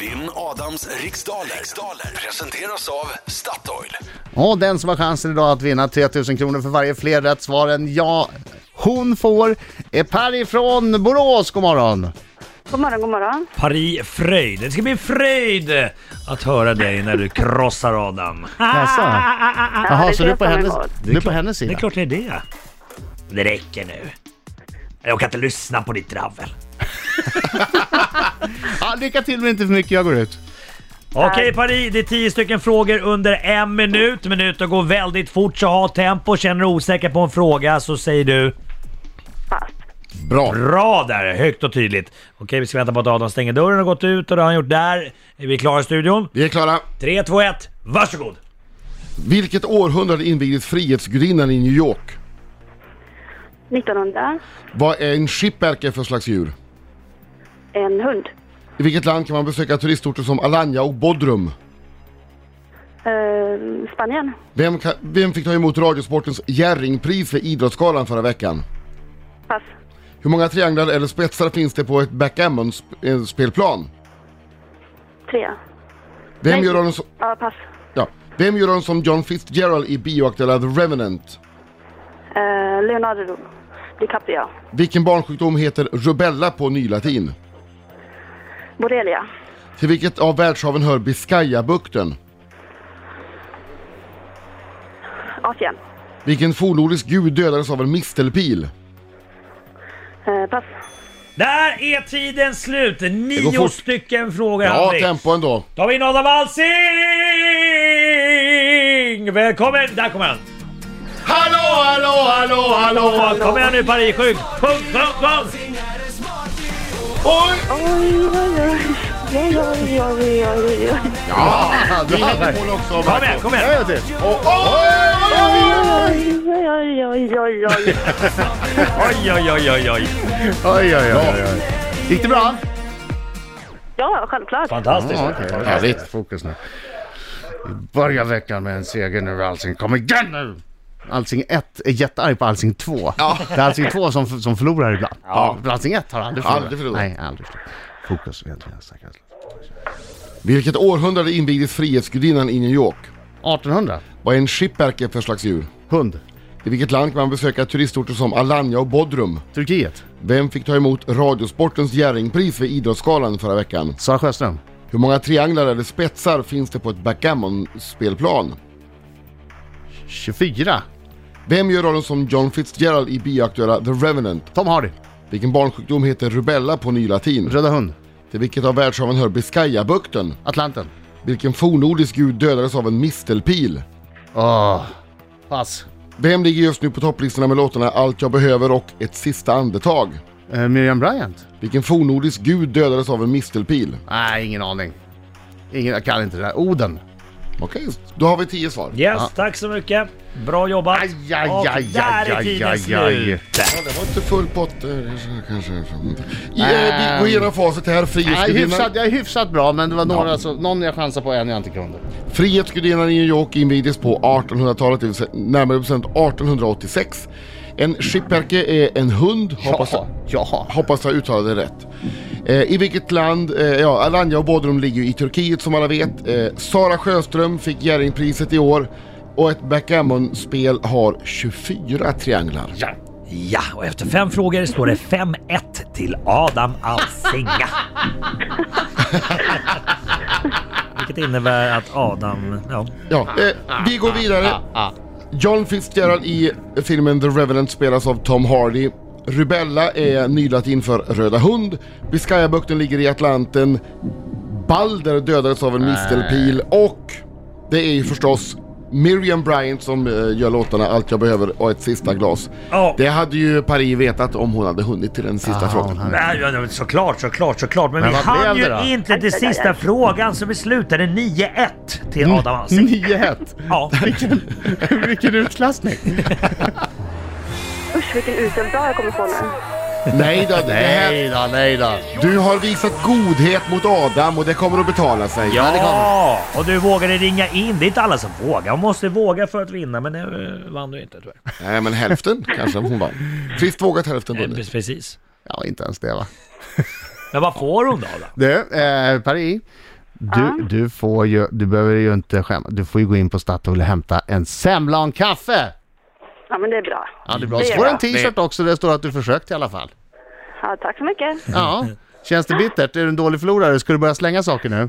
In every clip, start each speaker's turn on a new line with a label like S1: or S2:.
S1: Vinn Adams riksdaler. riksdaler presenteras av Statoil.
S2: Och den som har chansen idag att vinna 3000 kronor för varje fler rätt svar än ja, hon får är Per ifrån Borås. God morgon!
S3: God morgon, god morgon.
S4: Paris Fröjd. Det ska bli en fröjd att höra dig när du krossar Adam.
S2: Jaså? Jaha,
S3: det
S2: så du ah.
S3: ser
S2: är
S3: jag
S2: på
S3: fram
S2: hennes,
S3: emot.
S2: du är på hennes
S4: Det är
S2: sida?
S4: klart det är det. Det räcker nu. Jag kan inte lyssna på ditt dravel.
S2: Ja, Ah, lycka till men inte för mycket, jag går ut.
S4: Okej Paris, det är tio stycken frågor under en minut. Minuter går väldigt fort så ha tempo. Känner du osäker på en fråga så säger du
S3: Pass.
S2: Bra!
S4: bra där, högt och tydligt. Okej, vi ska vänta på att Adam stänger dörren och gått ut och det har han gjort där. Är vi klara i studion?
S5: Vi är klara.
S4: 3, 2, 1, varsågod!
S5: Vilket århundrade invigdes Frihetsgudinnan i New York?
S3: 1900.
S5: Vad är en shipperker för slags djur?
S3: En hund.
S5: I vilket land kan man besöka turistorter som Alanya och Bodrum?
S3: Ehm, Spanien.
S5: Vem, kan, vem fick ta emot Radiosportens Jerringpris vid Idrottsgalan förra veckan?
S3: Pass.
S5: Hur många trianglar eller spetsar finns det på ett eh, backgammon-spelplan?
S3: Tre.
S5: Vem
S3: Nej.
S5: gör honom som,
S3: Ja, pass.
S5: ja, vem gör honom som John Fitzgerald i bioaktuella The Revenant?
S3: Ehm, Leonardo DiCaprio.
S5: Vilken barnsjukdom heter rubella på nylatin?
S3: Borrelia.
S5: Till vilket av världshaven hör Biscayabukten?
S3: Asien.
S5: Vilken fornnordisk gud dödades av en mistelpil?
S3: Ehm, pass.
S4: Där är tiden slut!
S5: går
S4: Nio
S5: fort.
S4: stycken frågor
S5: Ja,
S4: Henrik.
S5: tempo ändå.
S4: Då har vi in Adam Alsing! Välkommen! Där kommer han!
S5: Hallå, hallå, hallå, hallå, hallå!
S4: Kom igen nu Paris, sjung! Sjung, sjung, sjung!
S5: Oj!
S3: Oj, oj, oj. Oj, oj, oj, oj, oj.
S5: Ja, du hade mål också.
S4: Kom igen, kom igen!
S2: Jag vet inte.
S5: Och, oj!
S3: Oj, oj, oj, oj, oj.
S4: Oj, oj, oj, oj, oj!
S2: Oj, oj, oj, oj, oj. Gick det bra?
S3: Ja, självklart.
S4: Fantastiskt!
S2: Ja, okej. Härligt. Fokus nu. Vi börjar veckan med en seger nu Alsing. Kom igen nu! Alsing 1 är jättearg på Alsing 2. Det är Alsing 2 som, som förlorar ibland. Ja. Alsing 1 har aldrig förlorat.
S5: Aldrig förlorat.
S2: Nej, aldrig förlorat. Fokus egentligen. stackars.
S5: Vilket århundrade invigdes Frihetsgudinnan i New York?
S2: 1800.
S5: Vad är en shipperker för slags djur?
S2: Hund.
S5: I vilket land kan man besöka turistorter som Alanya och Bodrum?
S2: Turkiet.
S5: Vem fick ta emot Radiosportens Jerringpris vid Idrottsgalan förra veckan?
S2: Sara Sjöström.
S5: Hur många trianglar eller spetsar finns det på ett backgammon-spelplan?
S2: 24.
S5: Vem gör rollen som John Fitzgerald i bioaktuella The Revenant?
S2: Tom Hardy.
S5: Vilken barnsjukdom heter rubella på nylatin?
S2: Röda hund.
S5: Till vilket av världshaven hör Biscayabukten?
S2: Atlanten.
S5: Vilken fornnordisk gud dödades av en mistelpil?
S2: Åh. Pass.
S5: Vem ligger just nu på topplistorna med låtarna Allt jag behöver och Ett sista andetag?
S2: Eh, Miriam Bryant?
S5: Vilken fornnordisk gud dödades av en mistelpil?
S2: Nej, ingen aning. Ingen, jag kan inte det där. Oden.
S5: Okej, då har vi tio svar.
S4: Yes, tack så mycket! Bra jobbat!
S2: Aj, aj,
S4: Och
S2: aj,
S4: där
S2: aj,
S4: är tiden
S2: aj, aj.
S4: slut!
S5: Ja, det var inte full pott eh, kanske. I, eh, vi går igenom facit här.
S2: Nej,
S5: Frihetsgudinnan,
S2: hyfsat, jag är hyfsat bra, men det var några så, någon jag chansade på, en jag inte kunde.
S5: Frihetsgudinnan i New York invigdes på 1800-talet, det vill säga närmare bestämt 1886. En schipperke är en hund, hoppas,
S2: Jaha, jaha.
S5: hoppas jag uttalade det rätt. Eh, I vilket land, eh, ja Alanya och Bodrum ligger ju i Turkiet som alla vet. Eh, Sara Sjöström fick Jerringpriset i år och ett backgammon-spel har 24 trianglar.
S4: Ja, och efter fem frågor står det 5-1 till Adam Alsinga. Vilket innebär att Adam... Ja.
S5: Ja, eh, vi går vidare.
S2: Ah,
S5: John Fitzgerald i filmen The Revenant spelas av Tom Hardy. Rubella är nylatin för Röda Hund. Biscayabukten ligger i Atlanten. Balder dödades av en mistelpil och det är ju förstås Miriam Bryant som eh, gör låtarna Allt jag behöver och ett sista glas.
S4: Ja.
S5: Det hade ju Paris vetat om hon hade hunnit till den sista frågan.
S4: Nej, ja, ja, såklart, såklart, såklart. Men,
S2: Men
S4: vi
S2: vad
S4: hann
S2: blev det då?
S4: ju inte till
S3: Aj, aj, aj.
S4: sista frågan så vi slutade 9-1
S2: Mm.
S4: till Adam Alsing.
S2: 9-1.
S4: Ja.
S2: Vilken utklassning.
S3: Usch, vilken usel dag jag kommer få nu.
S5: Nej då, det här,
S2: Nej då, nej då.
S5: du har visat godhet mot Adam och det kommer att betala sig.
S4: Ja, och du vågade ringa in. Det är inte alla som vågar. Man måste våga för att vinna, men det eh, vann du inte tyvärr.
S5: Nej men hälften kanske hon vann. Trist vågat hälften
S4: Eh,
S5: vunnit.
S4: Precis.
S2: Ja, inte ens det va.
S4: Men vad får hon då? då?
S2: Du, eh, Paris. Du, du får ju, du behöver ju inte skämma. Du får ju gå in på Statoil och hämta en semla och en kaffe!
S3: Ja, men det är bra.
S2: Ja, det är bra.
S3: Det
S2: Så
S3: är
S2: får du en
S3: bra.
S2: t-shirt också där det står att du försökt i alla fall.
S3: Ja, tack så mycket.
S2: Ja. Känns det bittert? Är du en dålig förlorare? Ska du börja slänga saker nu?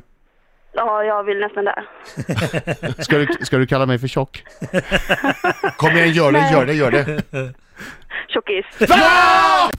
S3: Ja, jag vill nästan det.
S2: Ska du, ska du kalla mig för tjock?
S6: Kom igen, gör det, gör det, gör det.
S3: Tjockis.